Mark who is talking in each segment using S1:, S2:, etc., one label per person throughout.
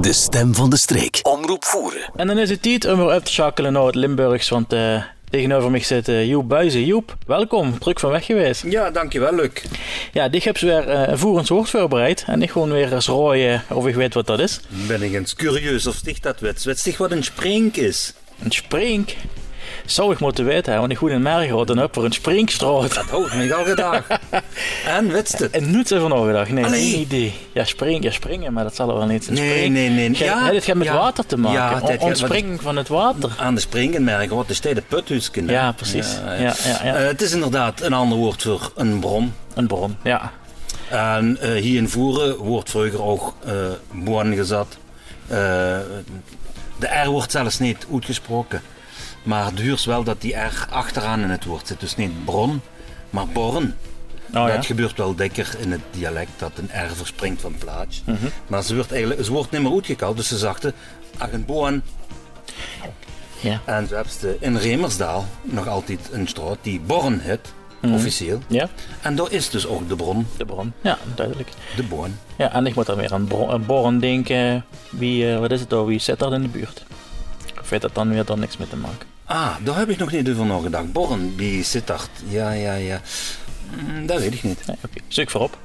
S1: De stem van de streek. Omroep voeren.
S2: En dan is het tijd om weer op te schakelen naar het Limburgs, want eh, tegenover mij zit eh, Joep Buizen. Joep, welkom, druk van weg geweest.
S3: Ja, dankjewel, Luc.
S2: Ja, dit heb ze weer eh, een voerend woord voorbereid en ik gewoon weer eens rooien of ik weet wat dat is.
S3: Ben ik eens curieus of sticht dat wets? Weet zich wat een sprink is?
S2: Een sprink. Zou ik moeten weten, hè, want ik goed in merg had en heb voor een sprinkstraat.
S3: Dat houdt me al gedaan. en wetst het?
S2: En nooit van overdag, nee,
S3: Allee.
S2: geen idee. Ja, spring, ja, springen, maar dat zal er wel niet. Een
S3: Nee,
S2: spring-
S3: nee, nee.
S2: Gij-
S3: Ja,
S2: hè, dit gaat met
S3: ja.
S2: water te
S3: Ja,
S2: maken.
S3: dit
S2: On-
S3: gaat met-
S2: ontspringen van het water.
S3: Aan de springen merken, wat is dat? De puthuisken. hè?
S2: Ja, precies. Ja, ja, ja.
S3: Eh, het is inderdaad een ander woord voor een bron.
S2: Een bron, ja.
S3: En eh, hier in Voeren wordt vroeger ook eh boan gezet. Eh, de R wordt zelfs niet uitgesproken. Maar het duurt wel dat die R achteraan in het woord zit. Dus niet bron, maar born.
S2: Oh, ja.
S3: dat gebeurt wel dikker in het dialect dat een R verspringt van plaats.
S2: Mhm.
S3: Maar ze wordt, eigenlijk, ze wordt niet meer uitgekald, dus ze zachte Agenboan.
S2: Ja.
S3: En zo hebben ze in Remersdaal nog altijd een straat die Born heet,
S2: Mhm.
S3: officieel.
S2: ja,
S3: En daar is dus ook de bron,
S2: de bron. Ja, duidelijk.
S3: de Born.
S2: Ja, en ik moet dan weer aan bro- aan Borren denken. Wie, eh, wat is het dan? Wie zit daar in de buurt? Of heeft dat dan weer dan niks mee te maken?
S3: Ah, daar heb ik nog niet over nagedacht. Born, wie zit dat? Ja, ja, ja. Mm, Dat weet ik niet.
S2: Nee, oké. Zoek voorop.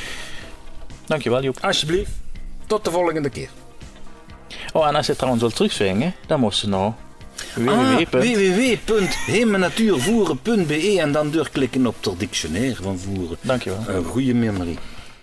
S2: Dankjewel, Joep.
S3: Alsjeblieft, tot de volgende keer.
S2: Oh, en als je trouwens wilt terugzwingen, dan moest ze nou.
S3: Ah,
S2: www.
S3: E www.hemennatuurvoeren.be en dan doorklikken op ter dictionair van voeren.
S2: Dankjewel.
S3: Euh, Een goede memorie.